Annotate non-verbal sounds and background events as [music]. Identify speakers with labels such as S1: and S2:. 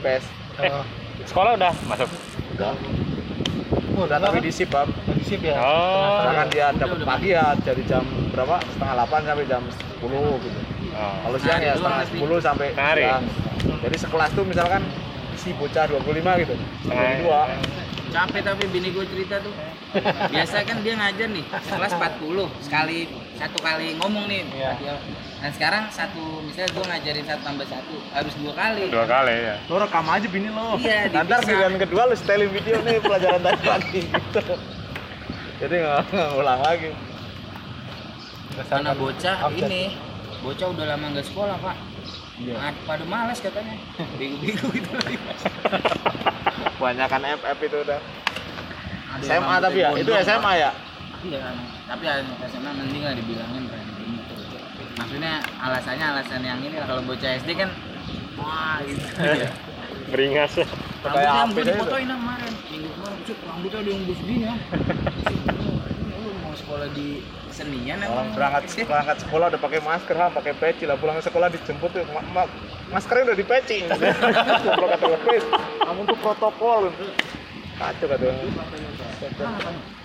S1: PS.
S2: Oh,
S3: Sekolah udah masuk.
S1: Udah.
S2: oh,
S1: Udah tapi di sip, Bab.
S2: Udah di sip ya.
S3: Oh.
S1: Karena kan dia dapat pagi ya dari jam berapa? Setengah 8 sampai jam 10 gitu.
S3: Oh.
S1: Kalau siang ya
S4: Nah, itu
S1: setengah
S4: asli.
S1: 10 sampai
S3: Menarik.
S1: siang. Jadi sekelas tuh misalkan si bocah 25 gitu. Sampai dua.
S4: capek tapi bini gue cerita tuh biasa kan dia ngajar nih kelas 40 sekali satu kali ngomong nih
S2: Iya.
S4: nah sekarang satu misalnya gue ngajarin satu tambah satu harus dua kali
S3: Dua kali ya.
S2: Lo rekam aja bini lo.
S4: iya
S1: Nanti
S4: dipisah.
S1: pilihan kedua lu setelin video nih pelajaran tadi pagi gitu. Jadi nggak nggak ulang lagi.
S4: karena bocah
S2: Update.
S4: ini bocah udah lama nggak sekolah pak
S1: Iya.
S4: Nah, pada malas katanya bego-bego gitu
S1: [laughs]
S4: lagi
S1: Kebanyakan FF itu udah.
S4: Ada yang
S1: SMA tapi ya,
S4: rambutnya
S1: itu
S4: gondrong,
S1: SMA ya.
S4: Pak. iya tapi anak SMA mending lah dibilangin keren gitu. maksudnya alasannya alasan yang ini lah. kalau bocah SD kan wah gitu
S1: [laughs]
S4: ya
S3: Beringas.
S1: Kayak apa
S4: Rambutnya gue
S1: aja
S4: dipotoin lah kemarin Minggu kemarin, cuk rambutnya ada yang bus
S1: [laughs]
S4: gini ya Lu mau sekolah di kesenian emang?
S1: Orang berangkat
S4: Iya.
S1: berangkat sekolah udah pakai masker, ha, pakai peci lah. Pulang sekolah dijemput tuh, mak, mak, maskernya udah dipeci. Goblok kata gue, "Pris, kamu tuh protokol. Kacau kata gue.
S4: Ah, apa nih?